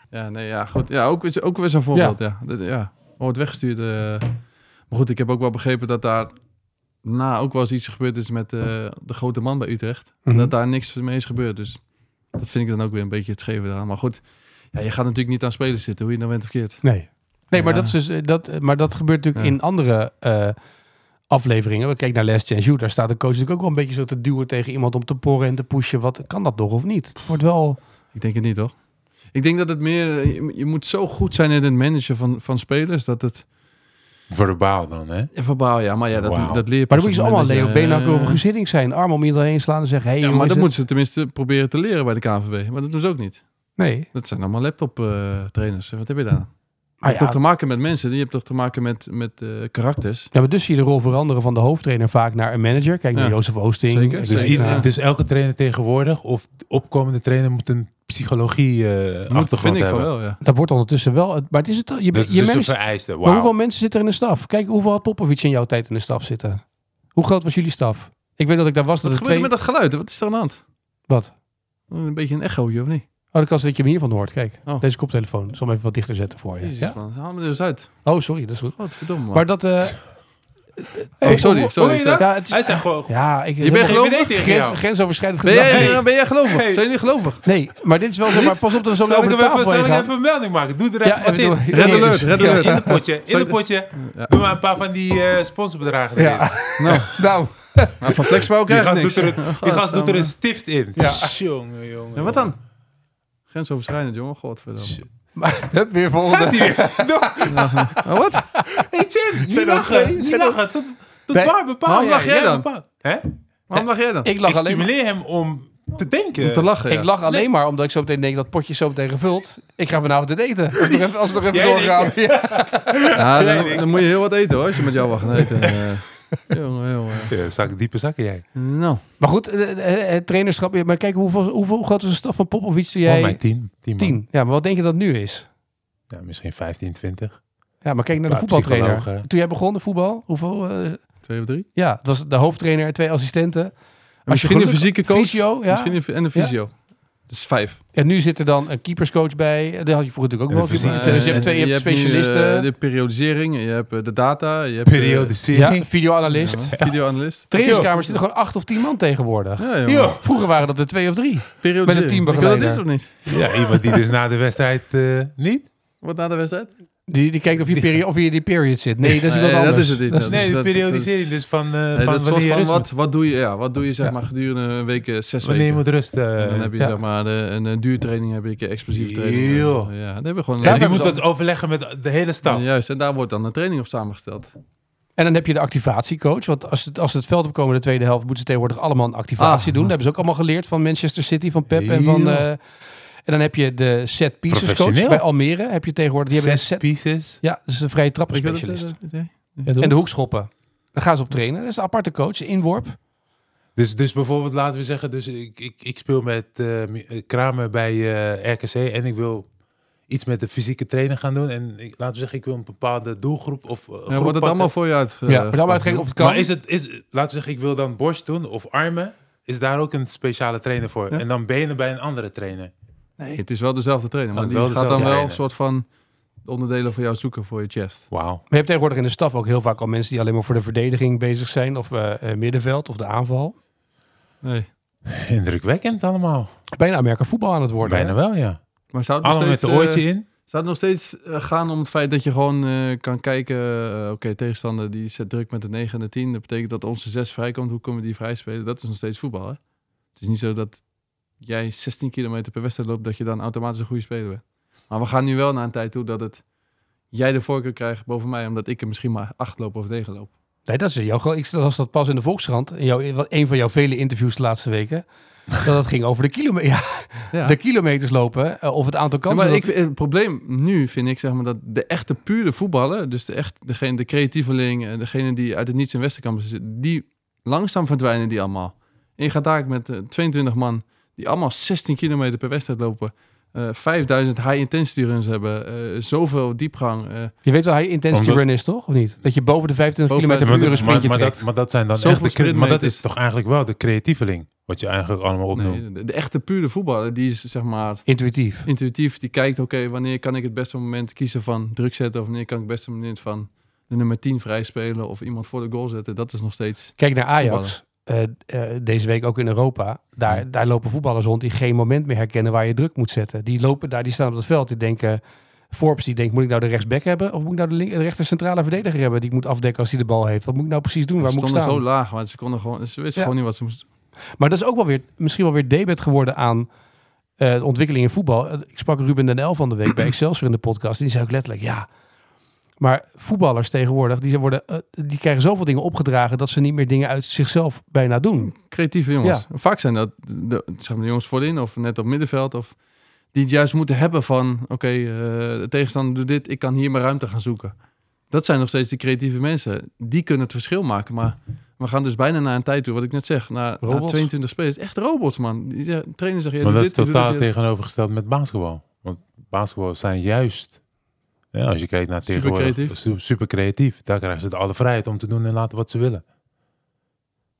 Ja, nee, ja, goed. Ja, ook, weer- ook weer zo'n voorbeeld, ja. Dat, ja. Wordt weggestuurd. eh. Maar goed, ik heb ook wel begrepen dat daar na ook wel eens iets gebeurd is met eh, de grote man bij Utrecht.
Mhm.
En dat daar niks mee is gebeurd. Dus dat vind ik dan ook weer een beetje het scheve eraan. Maar goed, ja, je gaat natuurlijk niet aan spelers zitten, hoe je het nou bent verkeerd.
Nee. Nee, maar,
Ja.
dat, is dus, eh, dat, eh, maar dat gebeurt natuurlijk
Ja.
in andere eh, afleveringen. We kijken naar Les Chance Daar staat de coach natuurlijk ook wel een beetje zo te duwen tegen iemand om te porren en te pushen. Wat kan dat nog of niet? Het wordt wel.
Ik denk het niet, toch? Ik denk dat het meer... eh, Je, je moet zo goed zijn in het managen van, van spelers dat het...
Verbaal dan, hè?
Ja, verbaal, ja. Maar ja, dat,
Wauw.
dat leer je
Maar dan
pas
moet je ze
op het
allemaal
moment
Leo
dat je,
Beenhakker
eh,
of Guus Hiddink zijn. Arm om iedereen heen slaan en zeggen: hey,
Ja,
hoe
maar
is
dat
het?
moeten ze tenminste proberen te leren bij de KNVB. Maar dat doen ze ook niet.
Nee.
Dat zijn allemaal laptop eh, trainers. Wat heb je daar? aan? je
Maar Ah
hebt
ja,
toch te maken met mensen. Je hebt toch te maken met, met eh, karakters.
ja, maar dus zie je de rol veranderen van de hoofdtrainer vaak naar een manager. Kijk naar
Ja.
Jozef Oosting.
Zeker,
Ik
Dus,
denk,
ieder-
nou,
dus elke trainer tegenwoordig of de opkomende trainer moet een psychologie eh
Moet, vind
achtergrond
ik van
hebben.
wel, ja.
dat wordt ondertussen wel. het- Maar het is het, al- je,
Dus,
je
dus een
managt-
vereiste.
Maar
Wauw.
hoeveel mensen zitten er in de staf? Kijk, hoeveel had Popovic in jouw tijd in de staf zitten? Hoe groot was jullie staf? Ik weet dat ik daar was. Dat
Wat
er
gebeurt
twee...
er met dat geluid? Wat is er aan de hand?
Wat?
Een beetje een echootje, of niet?
Oh, de kans dat je hem hiervan hoort. Kijk,
Oh.
deze koptelefoon. Ik zal hem even wat dichter zetten voor je.
Jezus,
Ja?
man. Haal me er eens uit.
Oh, sorry, dat is goed.
Godverdomme, man.
Maar dat... eh,
oh, sorry,
hoor
sorry.
je
sorry.
ja, het is-
Hij zegt gewoon...
ja, ik,
Je bent
heel-
geloof-
VVD tegen
grens,
jou.
grensoverschrijdend
Ben,
gedrag.
jij,
Nee.
eh, ben jij gelovig?
Hey.
Zijn jullie gelovig?
nee, maar dit is wel zo. Maar pas op dat we zo
Zal
over
ik,
de
er even,
tafel
zal
heen
ik
gaan.
even een melding maken? Doe er even
Ja,
wat in.
bedoel-
Red
ja,
alert,
ja.
red
Ja,
alert.
in de potje. In
Zal
de
ik-
potje.
Ja.
Doe maar een paar van die eh sponsorbedragen erin.
Ja.
Nou,
Nou,
nou, van Flexbouw
Die
krijg ik
gast,
niks. Oh,
doet er een, die gast doet er een stift in.
Ja.
Jongen, jongen.
En wat dan? Grensoverschrijdend, jongen. Godverdomme.
maar hup, weer volgende.
Nou, wat?
Hey Tim, niet
Zijn er
lachen.
twee?
Niet
Zijn er-
lachen. Tot, tot
Nee.
waar bepaal
Waarom lach jij dan?
bepaalt. Hè?
Waarom lag jij dan?
Ik
Ik
lach alleen maar.
stimuleer hem om te denken.
Om te lachen, ja.
Eh, Ik lach alleen maar omdat ik zo meteen denk dat potje zo meteen gevuld. Ik ga vanavond het eten. Als het nog even, als het nog even
Jij
doorgaat.
denkt-
Ja.
Ja, dan, dan moet je heel wat eten hoor, als je met jou wacht. Nee, dan, eh, jongen, jongen.
Ja, zak, diepe zakken jij.
Nou,
Maar goed, eh, eh, het trainerschap. Maar kijk, hoeveel, hoeveel hoe groot is de staf van Popovic? die
Oh,
Jij
mijn team. team man.
10. Ja, maar wat denk je dat het nu is?
Ja, misschien 15, 20.
Ja, maar kijk naar de
Ja,
voetbaltrainer.
psycholoog, hè.
Toen jij begon de voetbal, hoeveel? eh,
twee of drie.
ja, dat was de hoofdtrainer, twee assistenten.
Misschien
geluk-
een fysieke coach.
Fysio, ja.
Misschien een, fi- en een
Ja.
fysio. Dus vijf.
En nu zit er dan een keeperscoach bij. Dat had je vroeger natuurlijk ook
En
wel.
de
eens. Je
fysiek-
hebt- dus je
Eh,
hebt twee je hebt
nu, eh,
specialisten.
de periodisering, je hebt eh, de data, je hebt... eh,
ja,
Periodisering.
videoanalist.
ja, videoanalist.
Trainingskamer zitten gewoon acht of tien man tegenwoordig.
Ja, jongen.
Ja.
Vroeger waren dat er twee of drie.
Periodisering.
Met een teambegeleider.
Ik wil dat is of niet?
Ja. iemand die dus na de wedstrijd eh, niet.
Wat na de wedstrijd?
Die, die kijkt of je, peri- of je in die period zit. Nee, dat is
Nee,
iemand
dat
anders.
is het niet. Dat
Nee, de
dat-
periodisering. Dus van, eh,
Nee,
van
dat is soort
wanneer
van
is
wat, wat doe je, ja, wat doe je zeg
Ja.
maar gedurende een week, eh, zes
Wanneer je
weken.
moet eh, rusten.
En dan heb je
ja.
zeg maar de, een, eh, duurtraining, heb je een keer explosieve training.
Joh.
Ja, dan hebben we gewoon...
Ja,
en
maar
die
die
moet
moet
dat overleggen met de hele staf.
Juist, en daar wordt dan een training op samengesteld.
En dan heb je de activatiecoach. Want als, het, als ze het veld opkomen in de tweede helft, moeten ze tegenwoordig allemaal een activatie doen.
Ah.
Dat hebben ze ook allemaal geleerd van Manchester City, van Pep en van.
Ja.
eh, en dan heb je de set pieces coach
Professioneel.
bij Almere. Heb je tegenwoordig. Die hebben een set.
pieces.
Ja, dat is een vrije
Ik weet het,
trappenspecialist.
eh, idee.
En de hoekschoppen. Daar gaan ze op trainen. Dat is een aparte coach, inworp.
Dus, dus bijvoorbeeld, laten we zeggen, dus ik, ik, ik speel met eh, mi- eh, Kramer bij eh, RKC en ik wil iets met de fysieke trainer gaan doen. En ik, laten we zeggen, ik wil een bepaalde doelgroep of eh, groep
Ja, wordt het
pakken.
allemaal voor je uit? eh,
ja, maar dan uitgekeken of het kan.
Maar is het, is, laten we zeggen, ik wil dan borst doen of armen. Is daar ook een speciale trainer voor?
Ja.
En dan benen bij een andere trainer.
Nee, het is wel dezelfde trainer, maar
Oh,
die
wel
gaat dan
dezelfde
wel een
trainer.
soort van de onderdelen voor jou zoeken voor je chest.
Wauw.
Maar je hebt tegenwoordig in de staf ook heel vaak al mensen die alleen maar voor de verdediging bezig zijn. Of eh, eh, middenveld of de aanval.
Nee.
Indrukwekkend allemaal.
Bijna Amerika voetbal aan het worden.
Bijna
hè?
wel, ja.
Maar zou het nog
Allemaal met
steeds,
de
eh,
oortje in.
zou het nog steeds eh, gaan om het feit dat je gewoon eh, kan kijken, eh, oké, tegenstander die zet druk met de 9 en de 10, dat betekent dat onze 6 vrijkomt, hoe kunnen we die vrij spelen? Dat is nog steeds voetbal, hè? Het is niet zo dat jij 16 kilometer per wedstrijd loopt, dat je dan automatisch een goede speler bent. Maar we gaan nu wel naar een tijd toe dat het jij de voorkeur krijgt boven mij, omdat ik er misschien maar 8 loop of 9 loop.
Nee, dat is eh, jouw. gro- Ik las dat pas in de Volkskrant. In jouw, in wat- een van jouw vele interviews de laatste weken. dat het ging over de, kilome ja,
Ja.
de kilometers lopen. eh, of het aantal
Ja,
kansen.
maar
dat-
ik, het probleem nu vind ik zeg maar, dat de echte pure voetballer, dus de, echt, degene, de creatieveling, eh, degene die uit het niets in Westerkamp zit, die langzaam verdwijnen die allemaal. En je gaat daar met eh, 22 man die allemaal 16 kilometer per wedstrijd lopen, eh, 5000 high intensity runs hebben, eh, zoveel diepgang, eh,
je weet wel, hij intensity
Omdat-
run is toch? Of niet? Dat je boven de 25
Boven-
kilometer
Maar
per
dat-
uur een
maar,
sprintje
maar
trekt.
dat, maar dat zijn dan
Zoveel
echt de cre- Maar dat
sprintmeters.
is toch eigenlijk wel de creatieveling. Wat je eigenlijk allemaal opnoemt.
nee, de, de echte pure voetballer, die is zeg maar
Intuïtief.
intuïtief, die kijkt oké, wanneer kan ik het beste moment kiezen van druk zetten of wanneer kan ik het beste moment van de nummer 10 vrij spelen of iemand voor de goal zetten. Dat is nog steeds...
Kijk naar Ajax. eh, eh, deze week ook in Europa. Daar, daar lopen voetballers rond die geen moment meer herkennen waar je druk moet zetten. Die lopen daar, die staan op het veld. Die denken, Forbes die denkt, moet ik nou de rechtsback hebben? Of moet ik nou de, link, de rechter centrale verdediger hebben die ik moet afdekken als hij de bal heeft? Wat moet ik nou precies doen? Waar
ze
moet ik
stonden
staan?
zo laag, maar ze, konden gewoon, ze wisten
Ja.
gewoon niet wat ze moesten
Maar dat is ook wel weer, misschien wel weer debet geworden aan eh, de ontwikkeling in voetbal. Eh, Ik sprak Ruben Den El van de week bij Excelsior in de podcast. En die zei ook letterlijk, ja. Maar voetballers tegenwoordig, die, zijn worden, eh, die krijgen zoveel dingen opgedragen dat ze niet meer dingen uit zichzelf bijna doen.
Creatieve jongens. Vaak zijn dat de, zeg maar de jongens voorin of net op middenveld. Of, die het juist moeten hebben van, oké, eh, de tegenstander doet dit, ik kan hier mijn ruimte gaan zoeken. Dat zijn nog steeds de creatieve mensen. Die kunnen het verschil maken. Maar we gaan dus bijna naar een tijd toe, wat ik net zeg. Na, na
Robots.
22 spelers. Echt robots, man. Die zeggen- trainers zeggen, ja,
maar
doe
dat is
dit, doe
totaal
dat, ja.
tegenovergesteld met basketbal. Want basketbal zijn juist, ja, als je kijkt naar
Super
tegenwoordig,
creatief.
su- super creatief. Daar krijgen ze de alle vrijheid om te doen en laten wat ze willen.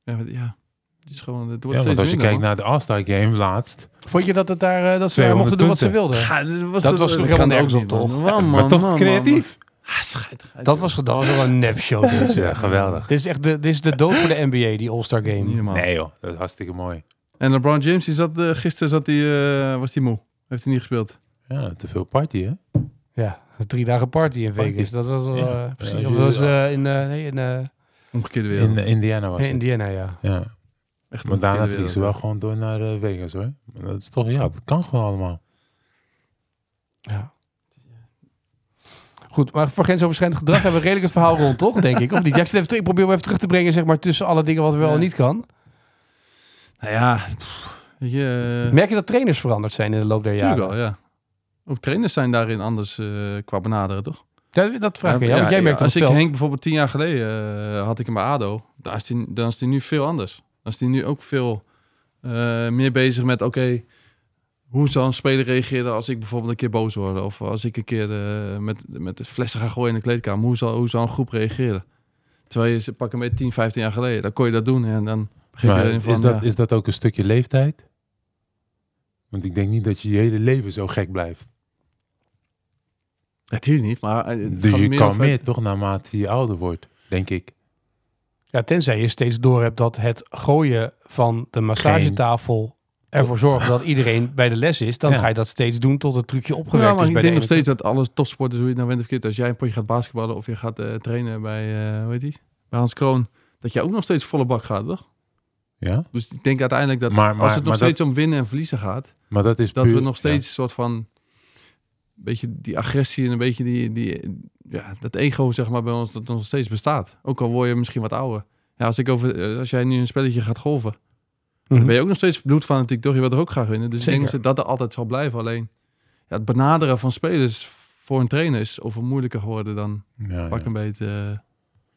Ja, maar- ja. Het is gewoon, het wordt
Ja, want
steeds
als je
minder.
kijkt naar de All-Star Game laatst,
Vond je dat, het daar, eh, dat ze daar
200
mochten doen wat ze
punten.
wilden?
Ja, dit was
Dat
het-
was
het
helemaal
kan
nergens
ook
op,
niet,
toch?
man. Oh, Man,
maar
man,
toch
man, man.
creatief.
Ah, schijt,
Dat was, dat was wel een nepshow. dit.
Ja, geweldig.
dit, is echt de, dit is de dood voor de NBA, die All-Star Game.
Niet normaal.
Nee joh, dat is hartstikke mooi.
En LeBron James, die zat, eh, gisteren zat die, eh, was hij moe. Heeft hij niet gespeeld.
Ja, te veel party hè.
Ja, drie dagen party in
Party.
Vegas. Dat was wel,
Ja.
eh, precies.
Ja,
dat was eh, in, eh, nee, in, eh,
Omgekeerde wereld.
In eh, Indiana was
in
het.
Indiana, ja.
Ja,
Echt
maar daarna
omgekeerde
vliegen ze wel
wereld.
gewoon door naar eh, Vegas hoor. Maar Dat is toch, ja, dat kan gewoon allemaal.
ja. Goed, maar voor grensoverschrijdend gedrag hebben we redelijk het verhaal rond, toch? Denk ik. Of niet? Ja, ik, zit even, terug- ik probeer hem even terug te brengen zeg maar, tussen alle dingen wat wel
Ja.
en niet kan.
Nou ja, pff, weet je, eh,
Merk je dat trainers veranderd zijn in de loop der
natuurlijk
jaren?
wel, ja. Ook trainers zijn daarin anders eh, qua benaderen, toch?
Dat, dat vraag ik aan jou,
Ja,
want jij
ja,
merkt
Als
het
ik
op het veld.
Henk bijvoorbeeld tien jaar geleden eh, had ik hem bij ADO, daar is die, dan is hij nu veel anders. Dan is hij nu ook veel eh, meer bezig met, oké, hoe zal een speler reageren als ik bijvoorbeeld een keer boos word? Of als ik een keer eh, met, met de flessen ga gooien in de kleedkamer, hoe zal, hoe zal een groep reageren? Terwijl je ze pakken met 10, 15 jaar geleden, dan kon je dat doen en dan begin je
Maar
erin van...
is, dat,
ja.
is dat ook een stukje leeftijd? Want ik denk niet dat je je hele leven zo gek blijft.
Natuurlijk niet, maar... eh, het
Dus
gaat
je
meer
kan
over-
meer toch naarmate je ouder wordt, denk ik.
Ja, tenzij je steeds door hebt dat het gooien van de massagetafel ervoor zorgt dat iedereen bij de les is. Dan
Ja.
ga je dat steeds doen tot het trucje
Ja,
opgewerkt
maar
is
ik
bij
denk
de
nog
ene
steeds dat alle topsporters, hoe je het nou bent of verkeerd, als jij een potje gaat basketballen of je gaat eh, trainen bij, eh, hoe heet die? bij Hans Kroon, dat jij ook nog steeds volle bak gaat, toch?
Ja?
Dus ik denk uiteindelijk dat
Maar- maar-
als het nog
maar
steeds om winnen en verliezen gaat,
Maar dat is
dat
puur,
we nog
ja.
steeds een soort van, beetje die agressie en een beetje die, die, ja, dat ego zeg maar bij ons, dat nog steeds bestaat. Ook al word je misschien wat ouder. Ja, als, ik over, eh, als jij nu een spelletje gaat golven,
kant. Mhm.
dan ben je ook nog steeds bloedfanatiek, toch? Je wilt er ook graag winnen. Dus
Zeker.
ik denk dat dat er altijd zal blijven. Alleen ja, het benaderen van spelers voor een trainer is of moeilijker geworden dan
Ja, ja.
pak een beetje eh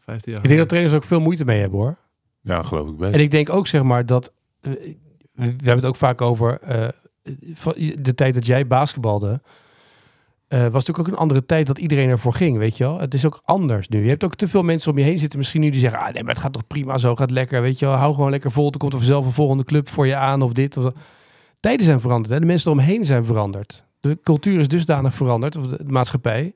15 jaar.
Ik denk dat trainers ook veel moeite mee hebben hoor.
Ja, geloof ik best.
En ik denk ook zeg maar dat. eh, We hebben het ook vaak over. eh, van de tijd dat jij basketbalde. eh, was natuurlijk ook een andere tijd dat iedereen ervoor ging, weet je wel. Het is ook anders nu. Je hebt ook te veel mensen om je heen zitten misschien nu die zeggen... ah nee, maar het gaat toch prima zo, gaat lekker, weet je wel. Hou gewoon lekker vol, er komt er vanzelf een volgende club voor je aan of dit of dat. Tijden zijn veranderd, hè. de mensen eromheen zijn veranderd. De cultuur is dusdanig veranderd, of de, de maatschappij.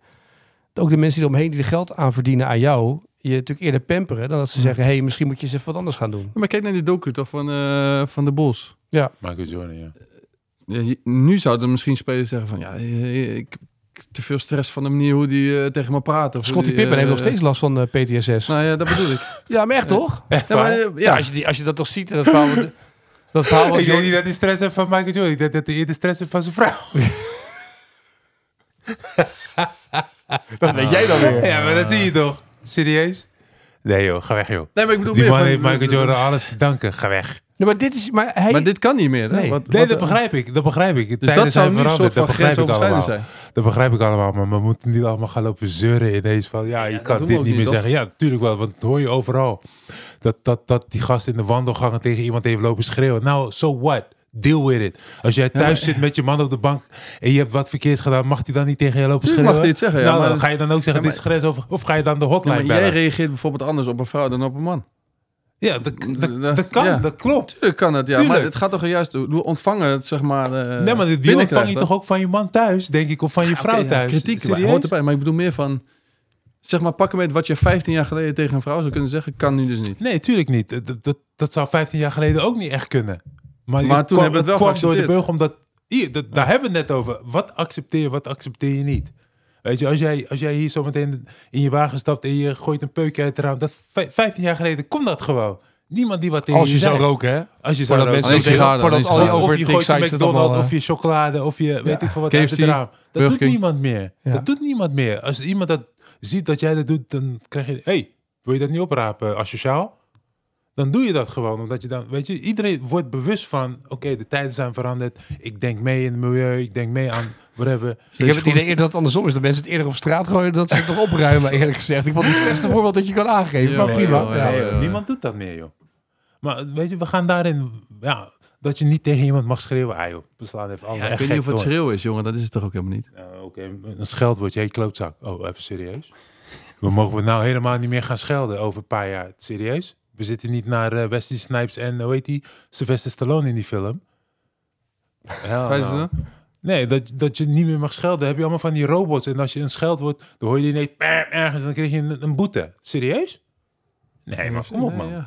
Ook de mensen die eromheen die er geld aan verdienen aan jou... je natuurlijk eerder pamperen dan dat ze zeggen... hé, hey, misschien moet je eens even wat anders gaan doen.
Ja, Maar kijk naar die docu toch van, eh, van de Bos.
Michael Jordan, ja.
Ja, je- nu zouden misschien spelers zeggen van ja, eh, ik ik- te veel stress van de manier hoe die eh, tegen me praten. of hoe
Scottie
die,
Pippen
eh,
heeft nog steeds last van eh, PTSS.
Nou ja, dat bedoel ik.
ja, maar echt toch?
Ja, maar, eh, ja.
Ja, als je, die, als je dat toch ziet, en dat verhaal... wat- dat
Oh,
verhaal wat
ik
Jordan-
denk niet dat hij stress heeft van Michael Jordan. Ik denk dat hij eerder stress heeft van zijn vrouw.
dat weet jij dan weer.
Ja, maar dat zie je toch? Serieus? Nee joh, ga weg joh.
Nee, maar ik bedoel
Die
meer
man
van-
heeft Michael Jordan alles te danken. Ga weg.
Nee, maar dit is... Maar hij,
Maar dit kan niet meer. Hè?
Nee.
Wat-
Nee,
wat-
dat begrijp ik. Dat begrijp ik.
Dus
Tijden
dat zou
zijn
nu een soort
veranderd.
van
Dat begrijp ik allemaal.
grensoverschrijdend zijn.
Dat begrijp ik allemaal. Maar we moeten niet allemaal gaan lopen zeuren ineens van... Ja, je
dat
kan
doen we
dit
ook
niet meer
niet, toch?
zeggen. Ja, natuurlijk wel. Want dat hoor je overal. Dat, dat, dat die gast in de wandelgangen tegen iemand heeft lopen schreeuwen. Nou, so what? Deal with it. Als jij thuis zit met je man op de bank en je hebt wat verkeerds gedaan, mag hij dan niet tegen je lopen
Tuurlijk
schreeuwen?
mag hij het zeggen, ja,
nou,
maar-
dan ga je dan ook zeggen,
Ja,
dit is grens over. Of ga je dan de
Ja,
hotline
maar jij
bellen?
reageert bijvoorbeeld anders op een vrouw dan op een man.
Ja, dat, dat,
Dat-
dat kan.
ja.
Dat klopt.
Tuurlijk kan het, ja.
Tuurlijk.
Maar het gaat toch juist hoe ontvangen het, zeg maar. eh
Nee, maar die
binnenkrijgt,
ontvang je toch ook van je man thuis, denk ik. Of van je
Ja, oké,
vrouw
ja,
thuis.
Kritiek maar,
Serieus?
hoort erbij. Maar ik bedoel meer van. Zeg maar, pak een beetje wat je 15 jaar geleden tegen een vrouw zou kunnen zeggen, kan nu dus niet.
Nee, tuurlijk niet. Dat- Dat, dat, dat zou 15 jaar geleden ook niet echt kunnen. Maar, je
Maar toen
kwam-
hebben we het wel
kwam door
geaccepteerd.
de beugel, omdat... Hier, dat, daar hebben we het net over. Wat accepteer je, wat accepteer je niet? Weet je, als jij, als jij hier zometeen in je wagen stapt en je gooit een peukje uit het raam... Dat, vij- 15 jaar geleden kon dat gewoon. Niemand die wat tegen
als je
zei.
zou roken, hè?
Als je zou
Voordat
roken.
mensen
Alleen
zich
sigaren,
voordat
alleen
al die
sigaren.
of,
over
of je gooit een McDonald's of
je...
eh,
je chocolade of je weet ik veel wat uit het
KFC,
raam. Dat
Burger
doet
King.
niemand meer.
Ja.
Dat doet niemand meer. Als iemand dat ziet dat jij dat doet, dan krijg je... hey, wil je dat niet oprapen, asociaal? Dan doe je dat gewoon, omdat je dan... Weet je, iedereen wordt bewust van... Oké, de tijden zijn veranderd. Ik denk mee in het milieu. Ik denk mee aan whatever.
Ik heb het idee eerder dat het andersom is. Dat mensen het eerder op straat gooien dan dat ze het nog opruimen, eerlijk gezegd. Ik vond het slechtste voorbeeld dat je kan aangeven.
Ja,
Maar
ja,
prima.
ja,
Ja.
Nee, joh, niemand doet dat meer, joh. Maar weet je, we gaan daarin... Ja, dat je niet tegen iemand mag schreeuwen. Ah joh, beslaan even allemaal
Ja, ik
echt
weet niet
gek
of het
door.
schreeuw is, jongen. Dat is het toch ook helemaal niet.
Ja, Nou, Oké, een scheldwoordje. Hé, klootzak. Oh, even serieus? We mogen we nou helemaal niet meer gaan schelden over een paar jaar. Serieus? We zitten niet naar eh, Wesley Snipes en, hoe heet die, Sylvester Stallone in die film. Hell
Zijn ze
no.
dan?
Nee, dat, dat je niet meer mag schelden. Dan heb je allemaal van die robots. En als je een scheldwoord, dan hoor je die ineens "Pam," ergens. En dan krijg je een, een boete. Serieus? Nee, maar kom op,
Nee,
man.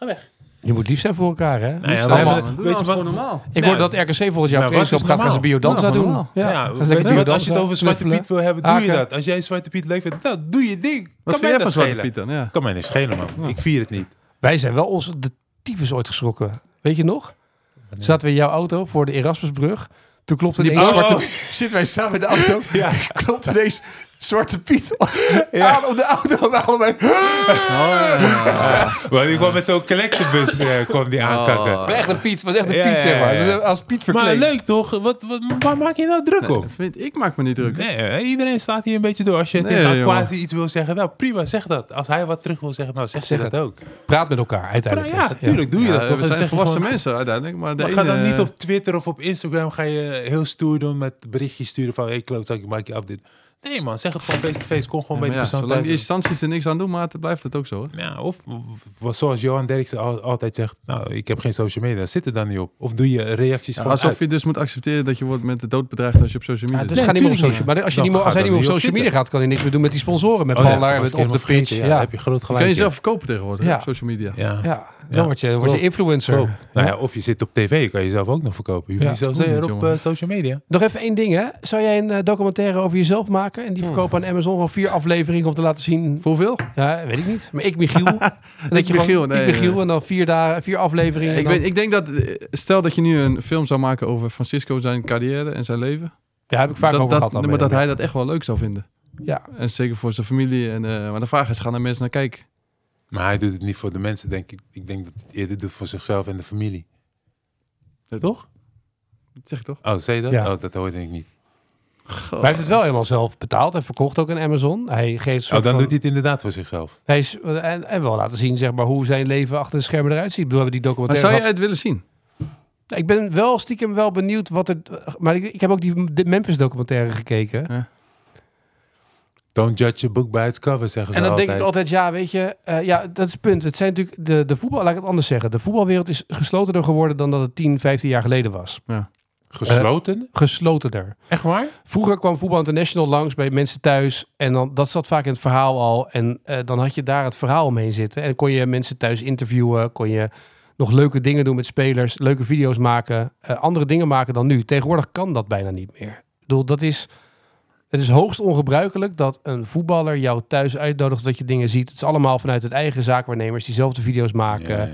ja.
Je moet lief zijn voor elkaar, hè?
Nou ja,
Lief
we
zijn.
hebben-
Allemaal.
Doe
weet
nou
je
eens
wat-
gewoon normaal.
Ik hoor dat RKC volgens jou
Maar wat is
trainingskamp gaat gaan ze
normaal?
biodanza
Ja,
doen.
normaal.
Nou, Ja,
Ja,
gaan ze
weet
lekker
je wat,
biodanza,
als je het over Zwarte
knuffelen.
Piet wil hebben, doe je
haken.
dat. Als jij Zwarte Piet leuk vindt, nou, doe je ding.
Wat
kan
vind
mij
jij van
dat
Zwarte
schelen?
Piet dan? Ja.
Kan mij niet schelen, man. Ik vier het niet.
Wij zijn wel onze de tyfus ooit geschrokken. Weet je nog? Zaten we in jouw auto voor de Erasmusbrug. Toen klopte
Die
ineens
blauwe-
zwarte... Zitten wij samen in de auto.
Ja.
Klopt ineens Zwarte Piet aan op de auto. En allebei...
Oh, ja.
Want die kwam met zo'n collectebus eh, kwam die
Oh.
aankakken.
Maar echt een Piet. was echt een
Ja,
Piet, zeg maar.
ja, ja.
Dus Als Piet verkleed.
Maar leuk toch? Wat, wat, waar maak je nou druk op?
Nee, vind, ik maak me niet druk.
Nee, hè, iedereen staat hier een beetje door. Als je
Nee,
tegen
jongen.
Aquasi iets wil zeggen, nou prima, zeg dat. Als hij wat terug wil zeggen, nou zeg,
Zeg
ze dat
het.
ook.
Praat met elkaar,
Maar
uiteindelijk. dus.
ja, tuurlijk doe je
Ja,
dat toch.
we
Dan
zijn
zeg je
volwassen
gewoon-
mensen uiteindelijk. Maar, de
Maar ga dan
ene-
niet op Twitter of op Instagram ga je heel stoer doen met berichtjes sturen van... hey, klootzak, ik maak je af dit. Nee man, zeg het gewoon face-to-face. Kom gewoon
Ja, maar
bij de
ja,
persoon
zolang die
thuis.
instanties er niks aan doen, maar het blijft het ook zo. Hè?
Ja, of, of zoals Johan Derksen al- altijd zegt... nou, ik heb geen social media, zit er dan niet op. Of doe je reacties
Ja,
gewoon
alsof
uit.
je dus moet accepteren dat je wordt met de dood bedreigd als je op social media
Ja, dus
zit.
ga niet meer op
tuurlijk
social
niet.
Maar als, je
Dan
niet meer, als hij
gaat
niet meer op
er
social
niet op
media gaat, kan hij niks meer doen met die sponsoren. Met
Oh ja, dat
Ballar,
was
met
ik
Off the
helemaal vergeten.
Fridge.
Ja, daar
Ja,
heb je groot
Kun
gelijk.
je
in.
zelf verkopen tegenwoordig hè,
Ja.
op social media.
Ja.
ja. dan
Ja.
word je, dan word je
Klopt.
influencer.
Klopt. Nou ja, of je zit op tv, kan je zelf ook nog verkopen. Je hoeft
Ja,
niet zelfs
hoeft niet,
op
jongen.
eh, social media.
Nog even één ding, hè? Zou jij een eh, documentaire over jezelf maken en die verkopen aan Amazon van vier afleveringen om te laten zien?
Hmm. Voor hoeveel?
Ja, weet ik niet. Maar ik Michiel. En dat je
Michiel,
gewoon,
nee,
ik Michiel
nee.
en dan vier dagen, vier afleveringen. en
ik,
dan-
weet, ik denk dat, eh, stel dat je nu een film zou maken over Francisco, zijn carrière en zijn leven.
ja, heb ik vaak
dat,
over
dat,
gehad. al
Maar
met
dat
hem.
hij dat echt wel leuk zou vinden.
Ja.
En zeker voor zijn familie. En, eh, maar de vraag is, gaan er mensen naar kijken?
Maar hij doet het niet voor de mensen, denk ik. Ik denk dat hij het eerder doet voor zichzelf en de familie.
Toch? Dat zeg ik toch?
Oh, zei je dat?
Ja.
Oh, dat hoorde ik niet.
Maar hij heeft het wel helemaal zelf betaald en verkocht ook aan Amazon. Hij geeft
Oh, dan doet hij het inderdaad voor zichzelf.
hij is, en, en wel laten zien zeg maar, hoe zijn leven achter de schermen eruit ziet. Ik bedoel, we hebben die
Maar
documentaire
zou
gehad.
jij het willen zien?
Nou, Ik ben wel stiekem wel benieuwd wat er. Maar ik, ik heb ook die de Memphis documentaire gekeken.
Don't judge a book by its cover, zeggen ze
En dan
altijd.
denk ik altijd, ja, weet je, eh, ja, dat is het punt. Het zijn natuurlijk de, de voetbal, laat ik het anders zeggen. De voetbalwereld is gesloterder geworden dan dat het 10, 15 jaar geleden was.
Gesloten?
Gesloterder.
Echt waar?
Vroeger kwam Voetbal International langs bij mensen thuis. En dan, dat zat vaak in het verhaal al. En eh, dan had je daar het verhaal omheen zitten. En kon je mensen thuis interviewen. Kon je nog leuke dingen doen met spelers. Leuke video's maken. eh, andere dingen maken dan nu. Tegenwoordig kan dat bijna niet meer. Ik bedoel, dat is... Het is hoogst ongebruikelijk dat een voetballer jou thuis uitnodigt dat je dingen ziet. Het is allemaal vanuit het eigen zaakwaarnemers die zelf de video's maken.
Ja, ja,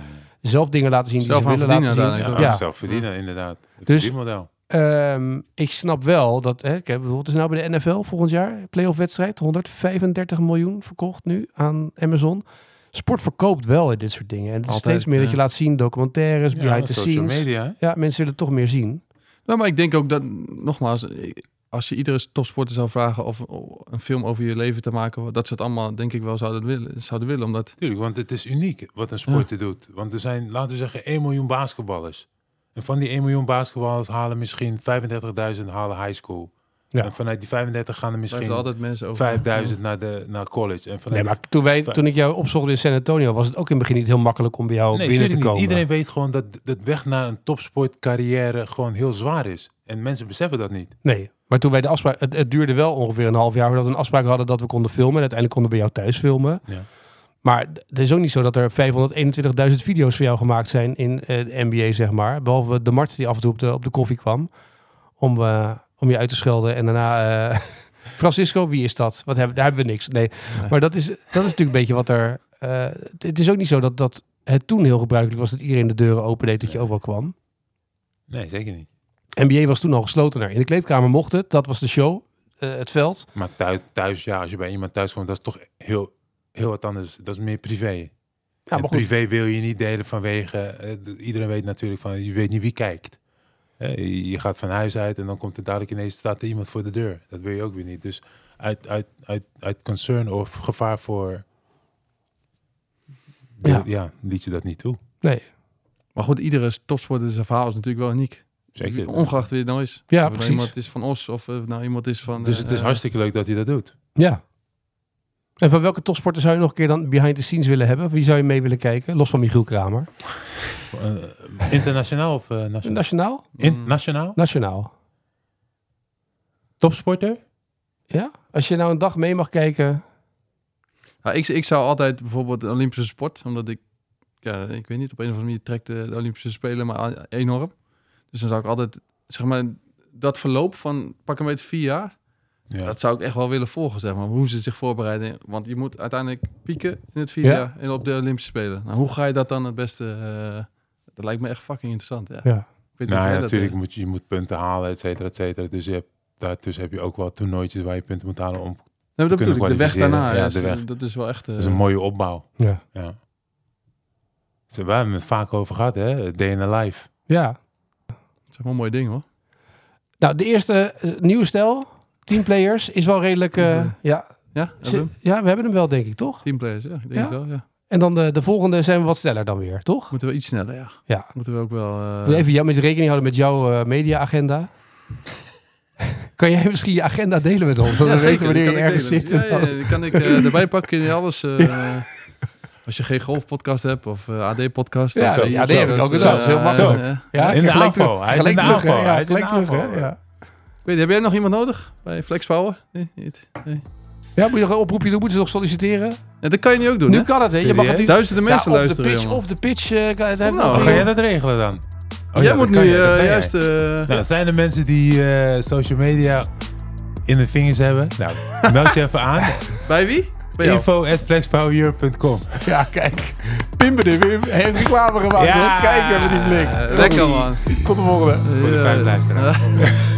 Zelf dingen laten zien
Zelf
die
aan
ze willen laten
verdienen
zien.
uiteindelijk.
ja.
Ja.
ja. zelf verdienen, inderdaad. Het
Dus-
verdienmodel.
Ehm, ik snap wel dat. Hè, ik heb bijvoorbeeld is nou bij de NFL volgend jaar playoff wedstrijd 135 miljoen verkocht nu aan Amazon. Sport verkoopt wel in dit soort dingen. En het is
Altijd,
steeds meer dat je
ja.
laat zien documentaires,
Ja,
behind the
social
scenes.
media. hè?
Ja, mensen willen toch meer zien.
Nou, maar ik denk ook dat, nogmaals, eh, als je iedere topsporter zou vragen of o- een film over je leven te maken, dat ze het allemaal denk ik wel zouden willen. Zouden willen omdat,
Tuurlijk, want het is uniek wat een sporter doet. Want er zijn, laten we zeggen, 1 miljoen basketballers. En van die 1 miljoen basketballers halen misschien 35.000 halen high school.
Ja.
En vanuit die 35 gaan er
blijven
misschien
er altijd mensen over.
5000 naar, de, naar college. En vanuit
Nee, maar toen, wij, toen ik jou opzocht in San Antonio, was het ook in het begin niet heel makkelijk om bij jou
Nee,
binnen te
tuurlijk niet.
komen.
Iedereen weet gewoon dat dat weg naar een topsportcarrière gewoon heel zwaar is. En mensen beseffen dat niet.
Nee, maar toen wij de afspraak... Het, het duurde wel ongeveer een half jaar voordat we een afspraak hadden dat we konden filmen. En uiteindelijk konden we bij jou thuis filmen.
Ja.
Maar d- het is ook niet zo dat er 521.000 video's voor jou gemaakt zijn in eh, de NBA, zeg maar. Behalve de Mart die af en toe op de, op de koffie kwam om, eh, om je uit te schelden. En daarna... eh, Francisco, wie is dat? Wat hebben, daar hebben we niks. Nee,
Nee.
maar dat is, dat is natuurlijk een beetje wat er... eh, het- het is ook niet zo dat, dat het toen heel gebruikelijk was dat iedereen de deuren opendeed dat je overal kwam.
Nee, zeker niet.
NBA was toen al geslotener. In de kleedkamer mocht het, dat was de show, eh, het veld.
Maar thuis, thuis, ja, als je bij iemand thuis komt, dat is toch heel, heel wat anders. Dat is meer privé.
Ja,
En
Nou, maar goed.
privé wil je niet delen vanwege... eh, d- iedereen weet natuurlijk van, je weet niet wie kijkt. Eh, je- je gaat van huis uit en dan komt er dadelijk ineens... staat er iemand voor de deur. Dat wil je ook weer niet. Dus uit, uit, uit, uit concern of gevaar voor...
Ja.
Ja. liet je dat niet toe.
Nee.
Maar goed, iedere topsporter zijn verhaal is natuurlijk wel uniek.
Zeker.
Ongeacht wie het nou is.
Ja,
of het nou
precies.
iemand is van Os of eh, nou iemand is van...
Dus
eh,
het is hartstikke leuk dat hij dat doet.
Ja. En van welke topsporter zou je nog een keer dan behind the scenes willen hebben? Wie zou je mee willen kijken? Los van Michiel Kramer.
Eh, internationaal of eh, nationaal?
Nationaal?
In, nationaal?
Nationaal.
Topsporter?
Ja? Als je nou een dag mee mag kijken.
Ja, ik, ik zou altijd bijvoorbeeld de Olympische sport, omdat ik, ja, ik weet niet, op een of andere manier trekt de, de Olympische Spelen me a- enorm. Dus dan zou ik altijd, zeg maar, dat verloop van pak een beetje vier jaar,
Ja.
dat zou ik echt wel willen volgen, zeg maar, hoe ze zich voorbereiden. Want je moet uiteindelijk pieken in het vier
Ja.
jaar en op de Olympische Spelen. Nou, hoe ga je dat dan het beste, eh, dat lijkt me echt fucking interessant, ja.
Ja.
Ik weet niet of
Nou
jij
ja,
dat,
natuurlijk
eh,
moet je, je moet punten halen, et cetera, et cetera. Dus je hebt, daartussen heb je ook wel toernooitjes waar je punten moet halen om
Nee, maar dat
kunnen
bedoel ik. De weg
kwalificeren.
daarna.
Ja,
is,
de weg.
Dat is wel echt... eh,
Dat is een mooie opbouw.
Ja.
Ja. Ze- Waar hebben we het vaak over gehad, hè? DNA Live.
ja.
dat zijn wel mooie dingen, hoor.
Nou, de eerste eh, nieuwe stijl, team players, is wel redelijk... eh,
Mhm.
ja.
Ja,
Ze- ja, we hebben hem wel, denk ik, toch?
teamplayers. Ja, ik denk
Ja?
het wel, ja.
En dan de, de volgende zijn we wat sneller dan weer, toch?
Moeten we iets sneller, ja.
Ja.
Moeten we ook wel... eh,
Ik wil even jou met rekening houden met jouw eh, mediaagenda. kan jij misschien je agenda delen met ons?
ja,
Dan we
zeker,
weten wanneer
die
je
kan ik
ergens
delen.
zit.
Ja,
en dan-
ja, die kan ik eh, erbij pakken in alles. eh, Als je geen golfpodcast hebt of eh, AD-podcast.
Ja,
of,
ja, die heb ik ook
dat,
wel. Heel
eh,
makkelijk.
eh,
Ja,
In de
gelijk
aanval. Hij is in de
terug, hè?
aanval.
Ja,
Hij is in de
gelijk terug, hè?
aanval.
Ja.
Ik weet niet, heb jij nog iemand nodig bij Flexpower? Nee, niet.
ja, moet je nog een oproepje doen? Moeten ze nog solliciteren?
Ja, dat kan je nu ook doen,
nu
hè?
kan het, hè? Je
Serieus?
mag het nu...
Duizenden
Ja,
mensen
of de
luisteren,
pitch,
jongen.
of de pitch. eh, kan- het heeft
nou,
nog-
Ga jij dat regelen dan?
jij
Oh ja,
moet
dat
nu
kan jij, dat
eh,
kan jij.
juist... eh,
Nou, het zijn de mensen die eh, social media in hun vingers hebben. Nou, meld je even aan.
Bij wie? Bij jou.
Info at flexpowereurope.com.
Ja, kijk. Pimbe de Wim heeft reclame gemaakt.
Ja.
hoor. Kijk even die blik.
Eh, Lekker, man.
Tot de volgende.
Voor de vijf luisteraars.
Ja.